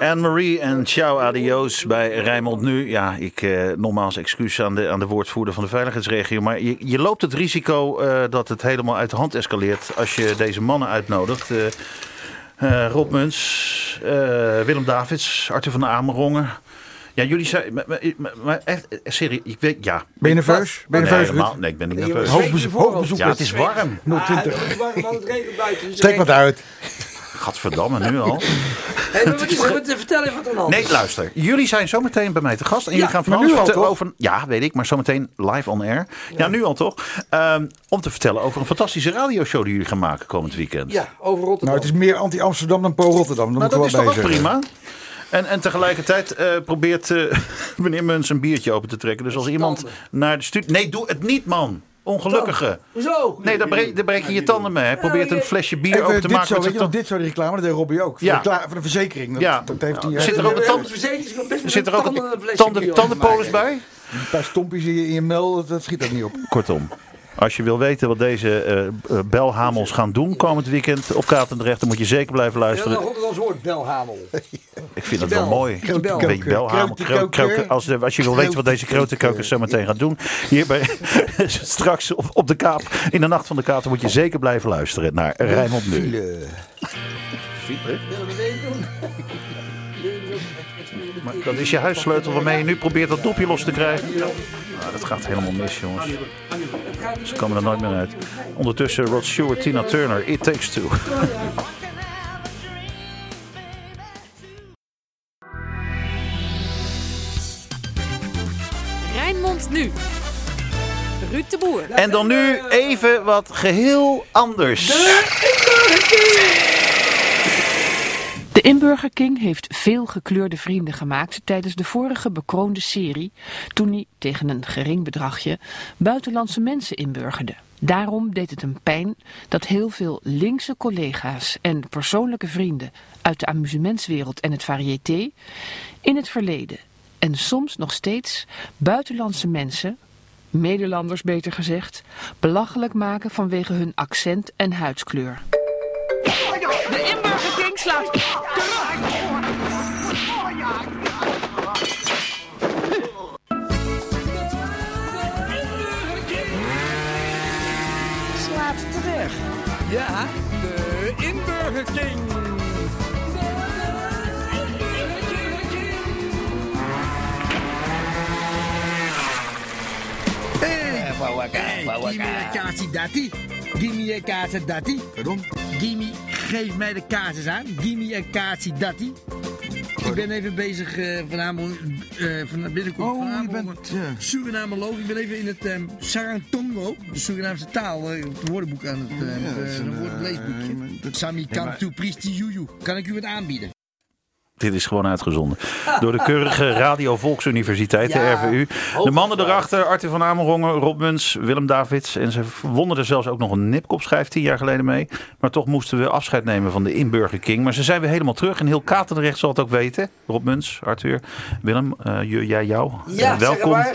Anne-Marie en ciao adios bij Rijnmond Nu. Ja, ik, eh, nogmaals excuus aan de, aan de woordvoerder van de veiligheidsregio. Maar je, je loopt het risico eh, dat het helemaal uit de hand escaleert als je deze mannen uitnodigt. Eh, eh, Rob Muns, eh, Willem Davids, Arthur van der Amerongen. Ja, jullie zijn... Maar, maar- maar- maar echt, eh, serieus, ik weet... Ja. Ben je nerveus? Ben je Nee, nerveus, helemaal, Ruud? nee, ik ben niet jongens, nerveus. hoop- Hoogbezoek, hoogbezoek. Ja, het is warm. 020. Ah, het is warm, want het regent buiten. Dus Trek wat uit. Nou, Gadverdamme, nu al. Hey, maar wat is er te vertellen wat er aan de hand Nee, luister. Jullie zijn zometeen bij mij te gast. En jullie gaan van maar alles nu al, vertellen toch? over... Ja, weet ik. Maar zometeen live on air. Ja, nu al toch. Ehm, om te vertellen over een fantastische radioshow die jullie gaan maken komend weekend. Ja, over Rotterdam. Nou, het is meer anti-Amsterdam dan pro-Rotterdam. Nou, Dat dat is moeten we toch wel ook bij zeggen. prima. En, en tegelijkertijd eh, probeert eh, meneer Muns een biertje open te trekken. Dus als iemand naar de studio... Nee, doe het niet, man. Ongelukkige. Hoezo? Nee, daar, breek- daar breek je je tanden mee. Hij probeert een flesje bier Even open te dit maken. zo, met weet zijn je wel, tand. dit zo die reclame, dat deed Robbie ook. Voor, Ja. de, kla- voor de verzekering. Dat, Ja. dat heeft hij Zit er ook een tand- Zit er ook een tanden, tandenpolis bij? een paar stompjes in je, in je mel, dat, dat schiet ook niet op. Kortom, als je wil weten wat deze eh, eh, belhamels gaan doen komend weekend op Katendrecht, dan moet je zeker blijven Ja, luisteren. Rotterdams woord belhamel. Ik vind het wel bel. mooi. Krote Een koker. beetje belhamel. Krote Kro- koker. kroken- Als, de- als je wil weten wat deze krotenkokers zo meteen gaan doen, hier bij, straks op, op de Kaap, in de Nacht van de Kaap, dan moet je zeker blijven luisteren naar Rijnmond Nu. File. Willen we deze doen? Maar dat is je huissleutel waarmee je nu probeert dat dopje los te krijgen. Nou, dat gaat helemaal mis, jongens. Ze komen er nooit meer uit. Ondertussen Rod Stewart, Tina Turner, It Takes Two. I can have a dream, baby. Rijnmond nu. Ruud de Boer. En dan nu even wat geheel anders. De Inburger King heeft veel gekleurde vrienden gemaakt tijdens de vorige bekroonde serie, toen hij tegen een gering bedragje buitenlandse mensen inburgerde. Daarom deed het hem pijn dat heel veel linkse collega's en persoonlijke vrienden uit de amusementswereld en het variété in het verleden en soms nog steeds buitenlandse mensen, Nederlanders beter gezegd, belachelijk maken vanwege hun accent en huidskleur. De Inburger King slaat Ja, de Inburger King. Kaatsie Datti. Gimme een kaatsie Datti. Pardon? Gimme, geef mij de kaatsjes aan. Gimme een kaatsie Datti. Ik ben even bezig eh vanavond, eh van binnenkomt Oh, je vanavond. bent... eh, Suriname loog. Ik ben even in het eh, Sarantongo, de Surinaamse taal, eh, het woordenboek aan het, eh, Ja, het, dat eh, is een, woordenleesboekje. eh, maar dat- Sami maar- Kantu Pristi Juju. Kan ik u wat aanbieden? Dit is gewoon uitgezonden. Door de keurige Radio Volksuniversiteit, de Ja, RVU. De mannen erachter, Arthur van Amerongen, Rob Muns, Willem Davids. En ze wonnen er zelfs ook nog een nipkopschijf tien jaar geleden mee. Maar toch moesten we afscheid nemen van de Inburger King. Maar ze zijn weer helemaal terug. En heel Katendrecht zal het ook weten. Rob Muns, Arthur, Willem, eh, je- jij, jou. Ja, Eh, welkom. welkom.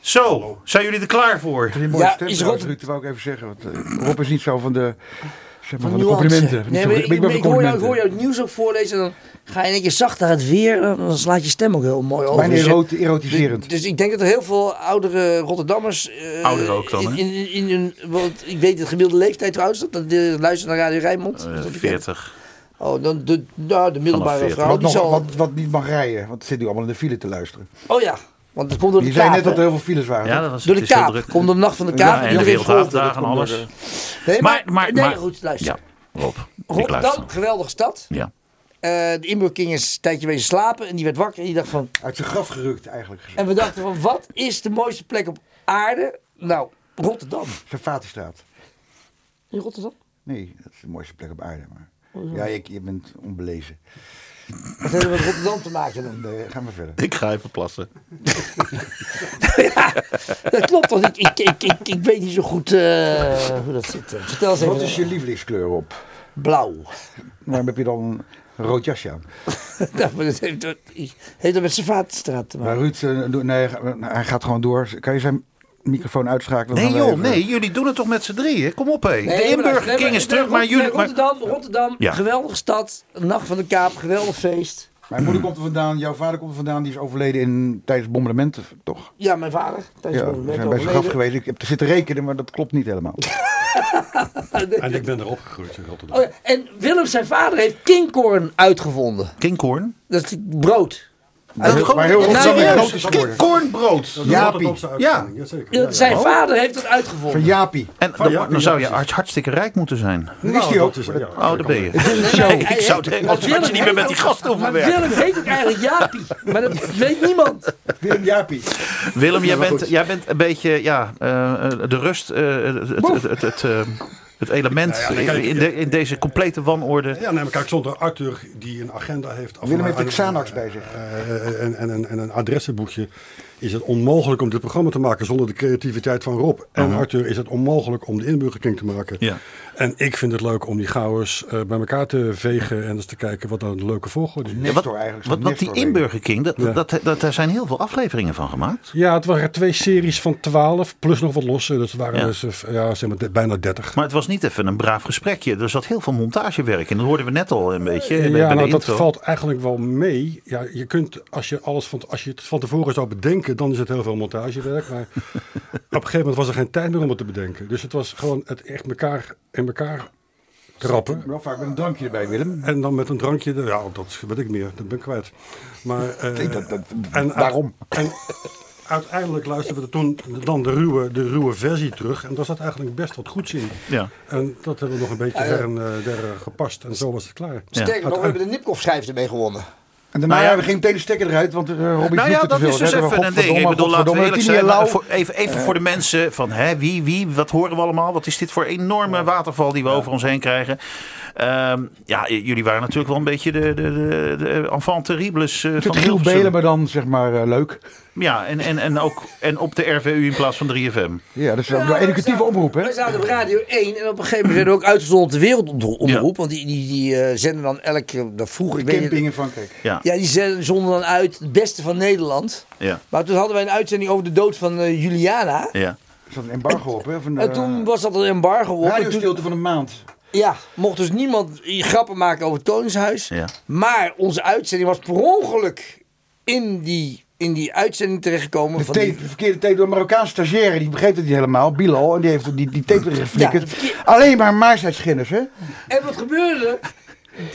Zo, zijn jullie er klaar voor? Een mooie Ja, stem is trouwens, Rob- Ruud, dat wou ik even zeggen. Want, eh, Rob is niet zo van de, zeg maar, van de nuance. complimenten. Nee, maar ik, ik, hoor jou, ik hoor jou het nieuws ook voorlezen en dan ga je een keer zachter het weer. en Dan slaat je stem ook heel mooi over. Bijna Dus- erot- erotiserend. Dus ik denk dat er heel veel oudere Rotterdammers. eh, Ouderen ook dan, hè? in, in, in hun- want ik weet de gemiddelde leeftijd trouwens, dat, dat eh, luistert naar Radio Rijnmond. Eh, Dat heb ik- 40. Oh, dan de, nou, de middelbare 40. vrouw. Wat, Die nog, zal, wat, wat niet mag rijden, want het zit nu allemaal in de file te luisteren. Oh ja, want het komt door de Je zei kaap. net dat er hè? heel veel files waren. Ja, toch? dat was Door de Dus het is heel kaap. druk. Komt de nacht van de Ja, kaap. Ja, en de iedereen golft. wereldhaafdagen en alles. Nee, Maar, maar, nee, maar. goed, luister. Ja, Rob, ik luister. Rotterdam, geweldige stad. Ja. Eh, de inburking is een tijdje wezen slapen en die werd wakker en die dacht van... Uit zijn graf gerukt eigenlijk. gezegd. En we dachten van, wat is de mooiste plek op aarde? Nou, Rotterdam. Savatenstraat. In Rotterdam? Nee, dat is de mooiste plek op aarde. Maar... Ja, je, je bent onbelezen. Wat hebben we met Rotterdam te maken dan? Nee, ga maar verder. Ik ga even plassen. Dat klopt, want ik, ik, ik, ik, ik weet niet zo goed eh, hoe dat zit. Vertel eens even. Wat is je lievelingskleur op? Blauw. Waarom heb je dan een rood jasje aan? nou, maar dat heeft, dat heeft dat met Savatenstraat te Maar maken. Ruud, eh, doe- nee, hij gaat gewoon door. Kan je zijn microfoon uitschakelen? Nee Dan gaan joh, we even- nee, jullie doen het toch met z'n drieën? Kom op hé. de Nee, maar Inburger luister, nee, King is nee, terug, maar Rot- jullie... nee, Maar, Rotterdam, Rotterdam Ja. geweldige stad. Nacht van de Kaap, geweldig feest. Mijn moeder komt er vandaan, jouw vader komt er vandaan. Die is overleden in, tijdens bombardementen, toch? Ja, mijn vader. Tijdens Ja, ja, we zijn bij zijn graf geweest. Ik heb er zitten rekenen, maar dat klopt niet helemaal. En ik ben er opgegroeid in Rotterdam. Oh, ja, en Willem, zijn vader, heeft kingcorn uitgevonden. Kingcorn? Dat is brood. Maar heel- maar heel Nou, ontzettend ja, groot is geworden. Kornbrood. Dat is een Jaapie. Rotterdamse uitzending, jazeker. Ja, ja, ja. Zijn oh. vader heeft het uitgevonden. Van Jaapie. En Van dan, ja, dan zou je ja, arts hartstikke rijk moeten zijn. Dat is Nou, die ook. dat is- ja, dat Oh, daar ben je. Ik zou denken, wat wat had je niet meer met die gasten hoeven Maar werken. Willem heet ook eigenlijk Jaapie. Maar dat weet niemand. Willem Jaapie. Willem, jij maar bent, goed. jij bent een beetje ja, eh, eh, de rust, eh, het, het, het, het, eh, het element Nou ja, dan kijk, in, de- in deze complete wanorde. Ja, nee, maar kijk, zonder Arthur die een agenda heeft... af- Willem heeft en- een Xanax eh, bij zich. eh, en, en, en, en een adressenboekje is het onmogelijk om dit programma te maken zonder de creativiteit van Rob. En Mhm. Arthur is het onmogelijk om de inburgerking te maken. Ja. En ik vind het leuk om die gauwers eh, bij elkaar te vegen en eens te kijken wat dan een leuke volgorde is. Ja, wat, Nestor eigenlijk. wat, zo'n wat die Nestor Inburger King, dat, Ja. dat, dat, daar zijn heel veel afleveringen van gemaakt. Ja, het waren twee series van 12, plus nog wat losse. Dus het waren Ja. dus, eh, ja, zeg maar, de- bijna 30. Maar het was niet even een braaf gesprekje. Er zat heel veel montagewerk in. Dat hoorden we net al een beetje eh, bij, bij ja, de nou, dat intro. valt eigenlijk wel mee. Ja, je kunt, als je, alles van, als je het van tevoren zou bedenken, dan is het heel veel montagewerk. Maar op een gegeven moment was er geen tijd meer om het te bedenken. Dus het was gewoon het echt elkaar in elkaar trappen. Ring. Wel vaak met een drankje erbij, Nou Willem. En dan met een drankje, er- ja, dat weet ik meer, dat ben ik kwijt. Maar, eh, Nee, dat- dat- uit- daarom. en uiteindelijk luisterden we toen dan de ruwe, de ruwe versie terug. En daar zat eigenlijk best wat goeds in. Ja. En dat hebben we nog een beetje her en eh, der eh, gepast. En zo was het klaar. Sterker nog, we hebben de Nipkoff-schijf ermee gewonnen. En daarna Nou ja. we ging meteen de stekker eruit, want eh, Robbie Nou vloeit ja, er te dat veel. is dus Daar hebben even een ding. Ik godverdomme, bedoel, laten we godverdomme, eerlijk Tini zijn. eh, Lau. Voor- even even voor de mensen van hè, wie, wie, wat horen we allemaal? Wat is dit voor enorme waterval die we over ons heen krijgen? Ehm, ja, j- jullie waren natuurlijk wel een beetje de, de, de, de enfant terribles eh, van Het Giel Hilversum. Belen, maar dan zeg maar eh, leuk. Ja, en, en, en ook en op de RVU in plaats van 3FM. Ja, dat is wel een educatieve oproep, hè? Wij zaten op Radio 1 en op een gegeven moment werden we ook uitgezonden op de wereldomroep. Want die, die, die eh, zenden dan elke, dat vroeger, ik weet niet- Camping in Frankrijk. Ja, ja. Ja, die zenden- zonden dan uit het beste van Nederland. ja. Maar toen hadden wij een uitzending over de dood van eh, Juliana. Er zat een embargo op, hè? Van, eh, En toen was dat een embargo op. En toen- Radiostilte van een maand. ja, mocht dus niemand grappen maken over het Koningshuis. Ja. Maar onze uitzending was per ongeluk in die, in die uitzending terechtgekomen. De, van tape- die- de verkeerde tape door een Marokkaanse stagiaire, die begreep het niet helemaal, Bilal, en die heeft die, die tape erin Ja, geflikkerd. de verkeer- Alleen maar maarsheidsginners, hè? En wat gebeurde er?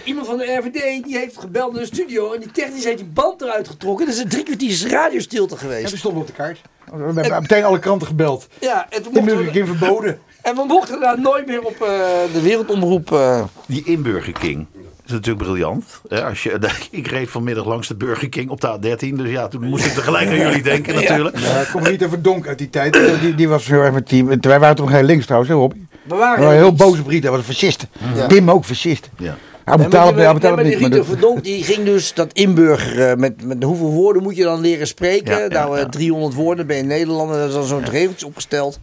Iemand van de RVD die heeft gebeld naar de studio en die technisch heeft die band eruit getrokken. Dat is een drie kwartier radiostilte En geweest. die stonden op de kaart. We hebben meteen alle kranten gebeld. Ja, en, toen Die mochten heb we, ik verboden. en we mochten daar nooit meer op eh, de wereldomroep. eh, Die in Burger King. Dat is natuurlijk briljant. hè, Als je, ik reed vanmiddag langs de Burger King op de A13. Dus ja, toen moest ik tegelijk aan jullie denken natuurlijk. Eh, Ja, ik kom niet even donk uit die tijd. Die, die was heel erg met team. Wij waren toen geen links trouwens, hè, Rob? we waren We waren heel iets. boos op Rita, was een fascist. Tim ook fascist. Ja. Hij Nee, maar betaalde die- hij nee, betaalde maar het die niet. maar Rieter dat- Verdonk die ging dus dat inburgeren. Met, met hoeveel woorden moet je dan leren spreken? Ja, ja, nou, eh, ja. 300 woorden ben je Nederlander. Dat is dan zo'n regeltje opgesteld.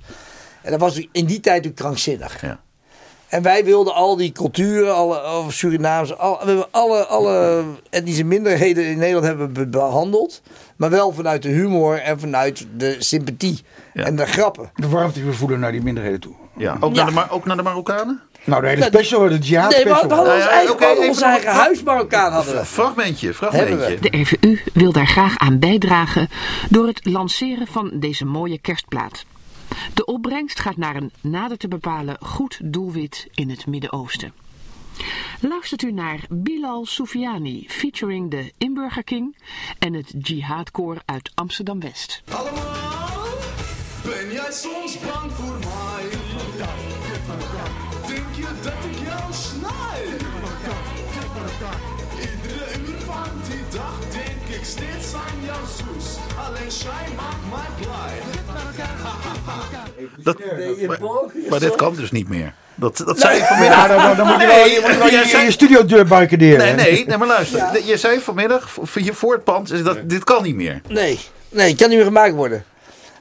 En dat was dus in die tijd natuurlijk krankzinnig. Ja. En wij wilden al die culturen, alle of Surinaamse, al, we hebben alle, alle etnische minderheden in Nederland hebben we behandeld. Maar wel vanuit de humor en vanuit de sympathie Ja. en de grappen. De warmte die we voelen naar die minderheden toe. Ja. Ook, Ja. Naar de, Mar- ook naar de Marokkanen? Nou, de hele Nou, special, de jihad nee, we special. hadden ons Ja, ja, eigen, oké, we hadden even ons nog- eigen huis Marokkaan hadden we. Fragmentje, Hebben fragmentje. De RVU wil daar graag aan bijdragen door het lanceren van deze mooie kerstplaat. De opbrengst gaat naar een nader te bepalen goed doelwit in het Midden-Oosten. Luistert u naar Bilal Soufiani featuring de Inburger King en het Jihadkoor uit Amsterdam-West. Allemaal, ben jij soms bang voor mij? Denk je dat ik jou snijd? Iedere uur van die dag denk ik steeds aan jouw zus. Alleen zij maakt mij blij. Dat, maar dit kan dus niet meer. Dat, dat zei je vanmiddag. Ja, dan, dan, dan moet je wel, Nee, je, moet wel jij je, zei- je studio deur barricaderen. Nee, nee, nee, maar luister. Je zei vanmiddag, v- je voor het pand, is dat, dit kan niet meer. Nee, nee, het kan niet meer gemaakt worden.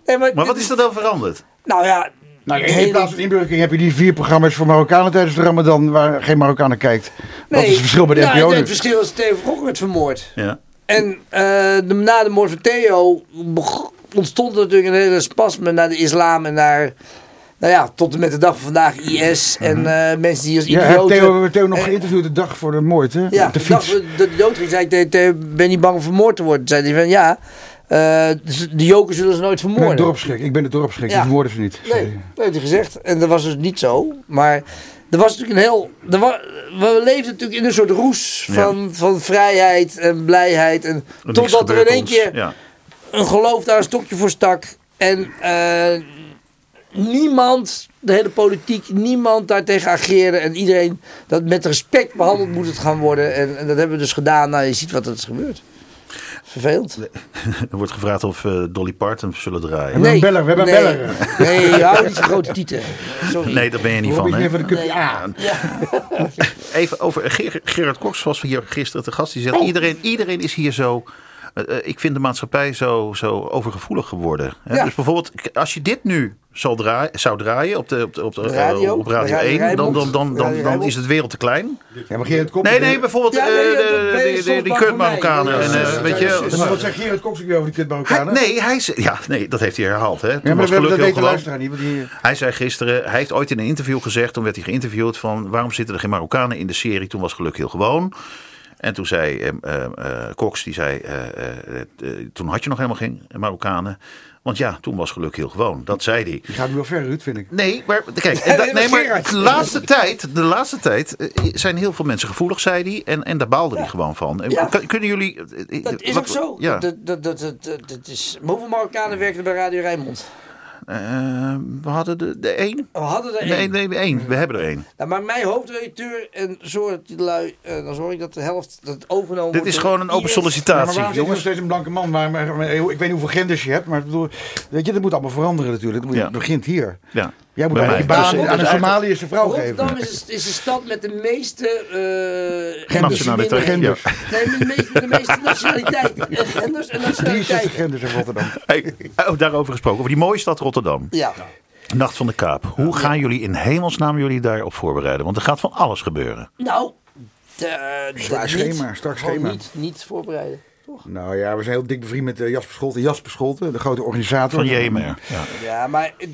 Nee, maar, Maar wat is er dan veranderd? Nou ja, Nou, de in hele- plaats van inburgering heb je die vier programma's voor Marokkanen tijdens de Ramadan waar geen Marokkanen kijkt. Wat is het verschil bij de nou, NPO Het nu? verschil is Theo Gogh werd vermoord. Ja. En eh, de, na de moord van Theo beg- ontstond natuurlijk een hele spasme naar de islam en naar nou ja, tot en met de dag van vandaag IS en eh, mensen die als Mhm. Ja, idioten... Eh, heb Theo, Theo nog geïnterviewd de dag voor de moord, hè? Ja, Op de de dag fiets. dat de dood ging, zei ik, tegen Theo, ben je bang om vermoord te worden? Toen zei hij van, ja, eh, z- de jokers zullen ze nooit Ik ben vermoorden. het dorpsgek. Ik ben het dorpsgek. Ja. Die vermoorden ze niet. Nee, dat heeft hij gezegd. En dat was dus niet zo. Maar er was natuurlijk een heel. Er wa- we leefden natuurlijk in een soort roes Ja. van, van vrijheid en blijheid. En, Niks totdat er gebeurt in één ons. keer Ja. een geloof daar een stokje voor stak. En eh, niemand, de hele politiek, niemand daartegen ageerde. En iedereen dat met respect behandeld moet het gaan worden. En, en dat hebben we dus gedaan. Nou, je ziet wat er is gebeurd. Vervelend. Er wordt gevraagd of eh, Dolly Parton zullen draaien. hebben een beller, we hebben een nee. Nee, hou niet van grote tieten. Sorry. Nee, daar ben je niet Rob, van. ik Hè? neem even de cup- Ja. Even over eh, Ger- Gerard Koks was hier gisteren te gast. Die zegt, Oh. iedereen, iedereen is hier zo... eh, eh, ik vind de maatschappij zo, zo overgevoelig geworden. Hè? Ja. Dus bijvoorbeeld, k- als je dit nu zal draai- zou draaien op, de, op, de, op, de, eh, radio, op Radio bij Radio 1... Dan, dan, dan, Rijnmond. dan, Radio dan Rijnmond. is het wereld te klein. Ja, maar Gerrit Koks... Nee, nee, bijvoorbeeld Ja, eh, nee, de- dat ben je de- soms de- die bang voor kutmarokkanen. mij. en, eh, Ja, weet je... dus- Maar wat zegt Gerrit Koks weer over die kut Hij- Marokkanen? nee, hij zei, ja, nee, dat heeft hij herhaald. Hè. Toen Ja, maar was we hebben dat gelukkig weten heel geloof. luisteraar niet. Want die, Hij zei gisteren, hij heeft ooit in een interview gezegd, toen werd hij geïnterviewd van waarom zitten er geen Marokkanen in de serie? Toen was geluk heel gewoon. En toen zei eh, eh, eh, Cox, die zei, eh, eh, eh, toen had je nog helemaal geen Marokkanen. Want ja, toen was geluk heel gewoon. Dat zei hij. die gaat nu wel ver, Ruud, vind ik. Nee, maar kijk, en dat- nee, maar de laatste tijd, de laatste tijd eh, zijn heel veel mensen gevoelig, zei hij. En, en daar baalde hij gewoon van. Eh, Ja. kun- Kunnen jullie... eh, eh, Dat is wat- ook zo. Ja. Dat, dat, dat, dat, dat, dat is... Maar hoeveel Marokkanen werken er bij Radio Rijnmond? Eh, we hadden de, de één. We hadden er één. Nee, nee, één. We hebben er één. Nou, maar mijn hoofdredacteur en zorg die lui, eh, dan zorg ik dat de helft dat het overgenomen Dit wordt is door gewoon een open IS. Ja, maar sollicitatie. waarom zit er nog steeds een blanke man? Maar, maar- maar- ik weet niet hoeveel genders je hebt, maar ik bedoel, weet je, dat moet allemaal veranderen natuurlijk. Dat moet, Ja. Het begint hier. Ja. Jij moet Bij eigenlijk mij. je baan Dus- dus aan een eigenlijk- Somalische vrouw Rotterdam geven. is, is de stad met de meeste eh Nationaliteit, genders. ja. Nee, met de meeste, de meeste nationaliteiten. En genders en 63 nationaliteiten. genders in Rotterdam. Hey, oh, daarover gesproken, over die mooie stad Rotterdam. Ja. Nacht van de Kaap. Hoe gaan jullie in hemelsnaam jullie daarop voorbereiden? Want er gaat van alles gebeuren. Nou, de, Zwaar schema, strak Gewoon schema. Niet, niet voorbereiden. Nou ja, we zijn heel dik bevriend met eh, Jasper Scholten. Jasper Scholten, de grote organisator. Van JMR. Ja. Ja, maar eh,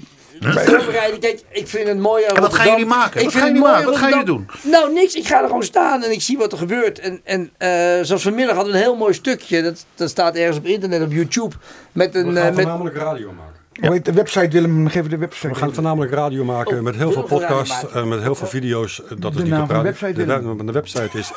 voorbereiden, kijk, ik vind het mooi aan En wat gaan Rotterdam- jullie maken? Ik Wat vind gaan jullie het mooi aan maken? Wat gaan Rotterdam- Nou, niks. Ik ga er gewoon staan en ik zie wat er gebeurt. En, en eh, zoals vanmiddag hadden we een heel mooi stukje. Dat, dat staat ergens op internet, op YouTube. Met We een... eh, gaan met, voornamelijk radio maken. Hoe heet de website, Willem? Geef de website. We gaan voornamelijk radio maken met heel Oh, we veel gaan radio podcasts, maken. Oh. eh, met heel veel video's. eh, Dat De is niet naam van op de radio. website, de, Willem. naam van de website is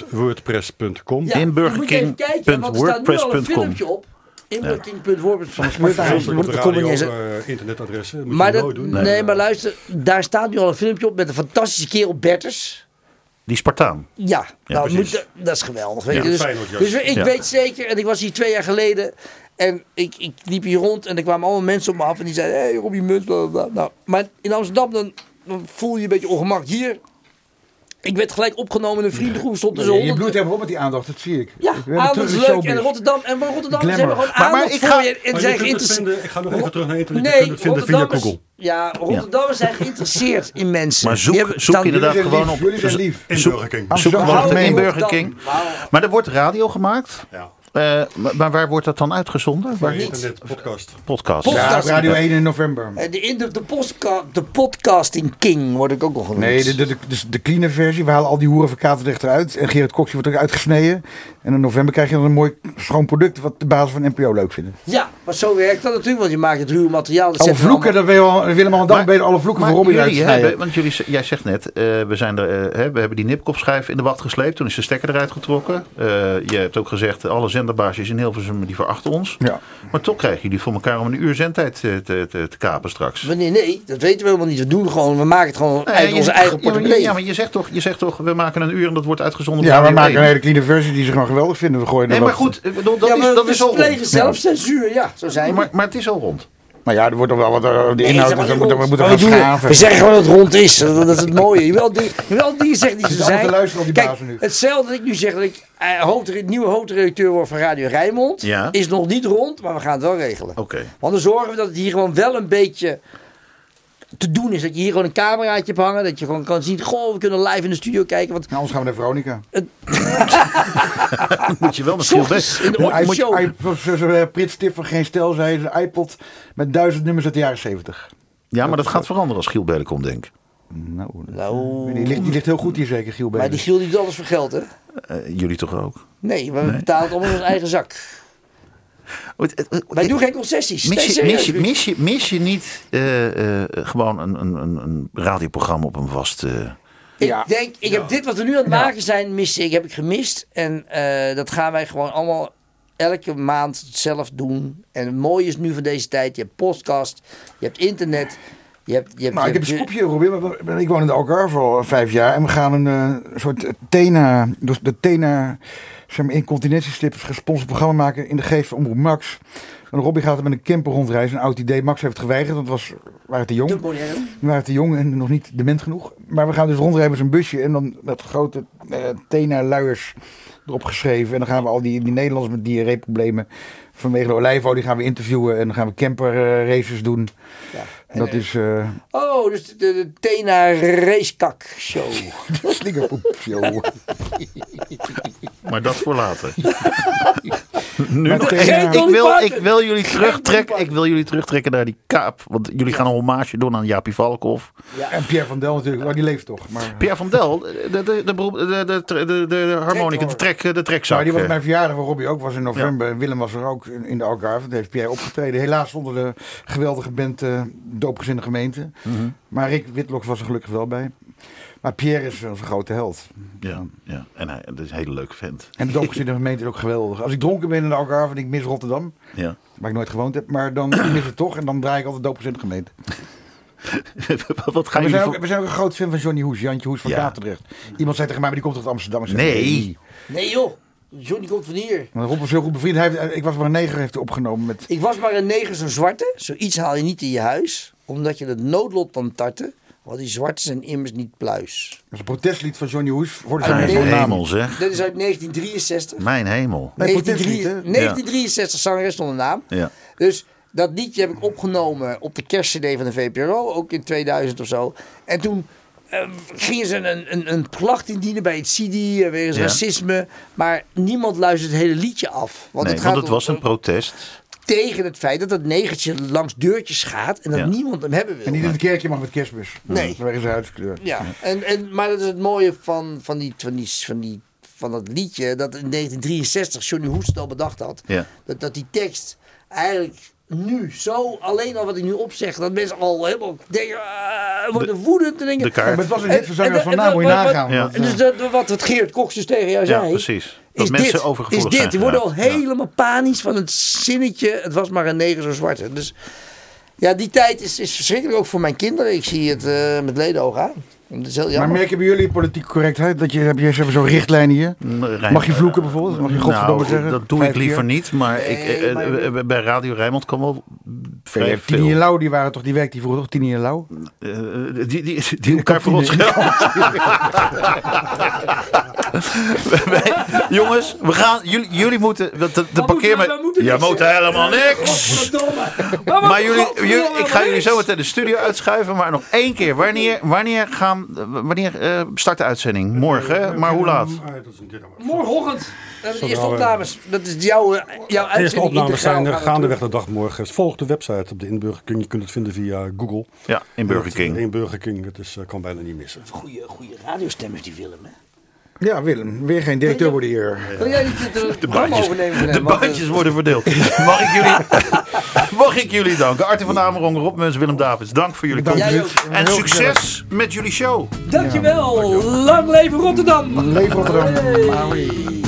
inburgerking.wordpress.com. ja, in je moet even burgerking kijken, want er staat nu al een wordpress punt com. filmpje op. Inburgerking.wordpress.com. Martijn. Soms ook op de Dat kon ik radio niet eens- eh, internetadressen. Dat Moet Maar je dat, nooit doen. nee. maar luister, daar staat nu al een filmpje op met een fantastische kerel Berters. Die Spartaan. Ja, Ja, nou, precies. moet, dat is geweldig. Weet Ja. je. Dus, Feyenoord, ja. dus ik Ja. weet zeker, en ik was hier twee jaar geleden. En ik, ik liep hier rond en er kwamen allemaal mensen op me af. En die zeiden, hé, hey, Robbie Munt, bla, bla, bla. Nou, maar in Amsterdam, dan, dan voel je je een beetje ongemak. Hier, ik werd gelijk opgenomen in een vriendengroep. Stond er zo Je bloedt honderd... helemaal op met die aandacht, dat zie ik. Ja, We hebben aandacht terug is de leuk. showbiz. En Rotterdam, en Rotterdam hebben Glamour. gewoon Maar- maar aandacht ik voor ga- je. En Maar je zijn kunt het geïnteresseerd. vinden, ik ga nog even terug naar internet. je Oh. Nee, kunt het vinden via Rotterdammers- Google. Ja, Rotterdammers zijn geïnteresseerd in mensen. Maar Die zoek, hebben- zoek staan- inderdaad Jullie zijn gewoon lief, op... jullie zijn lief. Inburgerking. Ah, Zoek Amsterdam gewoon op Algemeen. in Burger King. Wauw. Maar er wordt radio gemaakt. Ja. Eh, maar, maar waar wordt dat dan uitgezonden? Waar? Internet, podcast. Podcast. Podcast. Ja, op Radio 1 in november. Eh, De, in de, de, postka- de podcasting king word ik ook nog genoemd. Nee, de, de, de, de- de clean versie. We halen al die hoeren van Katerdrecht eruit. En Gerrit Koksie wordt ook uitgesneden. En in november krijg je dan een mooi schoon product... wat de basis van NPO leuk vinden. Ja, maar zo werkt dat natuurlijk, want je maakt het ruwe materiaal. Oh, Dat Alle zetten we vloeken, dat wil Willem al dan weten alle vloeken Maar waarom je eruit jullie hebben, snijden. want jullie, z- jij zegt net, eh, we, zijn er, eh, hè, we hebben die Nipkoff-schijf in de wacht gesleept. Toen is de stekker eruit getrokken. Eh, je hebt ook gezegd, alle zenderbaasjes in Hilversum die verachten ons. Ja. Maar toch krijgen jullie voor elkaar om een uur zendtijd eh, te, te, te kapen straks. allemaal- Wanneer? Nee, dat weten we helemaal niet. We doen gewoon, we maken het gewoon Nee, je uit onze zegt- eigen ja, maar- portemonnee. Ja, maar je zegt, toch, je zegt toch, we maken een uur en dat wordt uitgezonden Ja, op we Radio maken een 1. hele clean versie die ze gewoon geweldig vinden. We gooien er Nee, maar wat- goed, ik bedoel, dat, Ja, maar is, dat we is al plegen rond. zelf censuur, ja, zo zijn we. Maar, maar het is al rond. Maar ja, er wordt toch wel wat... eh, De Nee, inhoud, zeg maar dus we moeten we niet rond. moeten Maar gaan we doen het. schaven. We zeggen gewoon dat het rond is. Dat, dat is het mooie. Je wil die- je wil dingen zeggen die ze zitten allemaal zijn. te luisteren op die Kijk, bazen nu. hetzelfde dat ik nu zeg dat ik eh, hoofdre- nieuwe hoofdredacteur word van Radio Rijnmond. Ja. Is nog niet rond, maar we gaan het wel regelen. Oké. Want dan zorgen we dat het hier gewoon wel een beetje te doen is. Dat je hier gewoon een cameraatje hebt hangen. Dat je gewoon kan zien. Goh, we kunnen live in de studio kijken. Want Nou, anders gaan we naar Veronica. Moet je wel met Giel Ochtends Bek- in de Moet- ochtend- moet- show. I- zoals, eh, Prits Stiffer, geen stijl, zei de iPod met duizend nummers uit de jaren zeventig. Ja, maar dat gaat veranderen als Giel Bellek omdenkt. Nou, Nou, die, ligt, die ligt heel goed hier zeker, Giel maar die Beelen. Giel die doet alles voor geld, hè? Eh jullie toch ook? Nee, maar we betalen het allemaal in ons eigen zak. Het- het- het- Wij doen geen concessies. Nee, Mis je, serieus, mis, je, Ruud. mis, je, mis je niet eh, eh, gewoon een, een, een, een radioprogramma op een vast... eh, Ik Ja. denk, ik heb dit wat we nu aan het maken zijn, mis ik, heb ik gemist. En eh, dat gaan wij gewoon allemaal elke maand zelf doen. En het mooie is nu van deze tijd, je hebt podcast, je hebt internet. Je hebt, je hebt, Nou, ik je heb een hebt- scoopje, Robin. want we- Ik woon in de Algarve al eh, vijf jaar. En we gaan een eh, soort Tena, dus de Tena zeg maar, incontinentieslippers gesponsord programma maken in de geest van Omroep Max. En Robbie gaat er met een camper rondreizen, een oud idee. Max heeft het geweigerd, want het was, we waren te jong. te modern. We waren te jong en nog niet dement genoeg. Maar we gaan dus rondrijden met zo'n busje en dan met grote eh tena-luiers erop geschreven. En dan gaan we al die, die Nederlanders met diarreeproblemen vanwege de olijfolie gaan we interviewen. En dan gaan we camper eh, races doen. Ja. En dat is eh Oh, dus de, de, de Tena Racekak Show. slingerpoep, joh. Maar dat voor later. nu Maar nog tegen- even. Geen Ik Dolly wil, Parton. ik, wil jullie terugtrekken, Dolly ik wil jullie terugtrekken naar die kaap. Want jullie gaan een hommage doen aan Jaapie Valkhoff. En Pierre van Del natuurlijk, maar die leeft toch. Maar, Pierre van Del, de, de, de, beroep- de, de, de, de, de harmonica, de, trek, de trekzak. Nou, maar die was eh. op mijn verjaardag, waar Robbie ook was in november. En Willem was er ook in, in de Algarve. Daar heeft Pierre opgetreden. Helaas zonder de geweldige band eh Doopgezinde Gemeente. Mhm. Maar Rick Witlock was er gelukkig wel bij. Maar Pierre is onze grote held. ja, ja, en hij dat is een hele leuke vent. En de doopgezinnige gemeente is ook geweldig. Als ik dronken ben in de Algarve en ik mis Rotterdam, Ja. waar ik nooit gewoond heb, maar dan ik mis het toch en dan draai ik altijd doopgezinnige gemeente. Wat gaan We jullie zijn, voor... ook, we zijn ook een groot fan van Johnny Hoes, Jantje Hoes van Ja. Katendrecht. Iemand zei tegen mij, maar die komt toch uit Amsterdam? Ik zei, Nee. Nee joh, Johnny komt van hier. Want Rob was heel goed bevriend. Hij heeft- ik was maar een neger, heeft hij opgenomen met... Ik was maar een neger, zo'n zwarte. Zoiets haal je niet in je huis, omdat je het noodlot kan tarten. Want die zwarten zijn immers niet pluis. Dat is een protestlied van Johnny Hoes voor de Uit Vrijheid Mijn van de Nederland. Naam. hemel zeg. Dit is uit 1963. Mijn hemel. Nee, 1963 protestlied, hè? 1963, zangeres zonder naam. Ja. Dus dat liedje heb ik opgenomen op de kerstcd van de VPRO, ook in 2000 of zo. En toen eh, gingen ze een, een, een klacht indienen bij het CIDI, eh, wegens Ja. racisme. Maar niemand luistert het hele liedje af. Want Nee, het gaat want het om- was een protest. tegen het feit dat dat negertje langs deurtjes gaat en dat Ja. niemand hem hebben wil. En niet in het kerkje mag met kerstmis. Nee. Vanwege zijn huidskleur. Ja, en, en, maar dat is het mooie van, van, die, van, die, van, die, van dat liedje. Dat in 1963 Johnny Hoest het al bedacht had. Ja. Dat, dat die tekst eigenlijk nu zo, alleen al wat ik nu opzeg, dat mensen al helemaal denken, ah, worden woedend. En denken, De Maar kaart. het was een En- hit van zangers en- van en- naam, moet je wat- wat- nagaan. Ja. want, En eh, dus dat, wat het Geert Koks dus tegen jou Ja, zei. precies. Dat mensen overgevoelig is dit. zijn Die worden al geraakt. Ja. helemaal panisch van het zinnetje. Het was maar een neger zo zwarte. Dus ja, die tijd is, is verschrikkelijk ook voor mijn kinderen. Ik zie het eh, met ledenoog aan. Dat is heel jammer. maar merken bij jullie politieke correctheid? Dat je, heb je, ze hebben zo'n richtlijn hier. Rijn- Mag je vloeken bijvoorbeeld? Mag je godverdomme Mm, nou, zeggen? Dat doe Vijf ik liever keer? niet, maar, ik, eh, eh, maar- eh, bij Radio Rijnmond kan wel vrij Tini veel. en Lau, die waren toch, die werkte hier vroeger toch? Tini en Lau? Eh, die, die, die, die elkaar voor ons Wij- jongens, we gaan, jullie, jullie moeten. De, de, de parkeer moeten we- we moeten Je niks, moet hè? helemaal Oh, niks. Maar jullie, jullie- ik ga jullie zo meteen de studio uitschuiven. Maar nog één keer. Wanneer, wanneer, gaan, wanneer eh, start de uitzending? Morgen, hè? Eh, maar hoe laat? Ah, dat is een dilemma. Morgenochtend. Dat is eh, de eerste opnames. Dat is jouw, eh, jouw De eerste uitzending. opnames integraal zijn er gaan we terug. gaandeweg de dag morgen. Volg de website op de Inburger King. Je kunt het vinden via Google. Ja, in Burger Het- King. In Burger King. Dat is, eh, kan bijna niet missen. Goeie, goeie radiostemmers die Willem. Hè? Ja, Willem. Weer geen directeur worden hier. Wil jij niet de, de, programma baantjes- overnemen van De hem? Want, eh, bandjes worden verdeeld. Mag ik jullie, mag ik jullie danken? Arthur van Amerongen, Rob Muns, Willem Davids. Dank voor jullie Dank komst. Jij ook. En Heel succes eh, met jullie show. Dankjewel. Lang leven Rotterdam. Leef Rotterdam. Maui.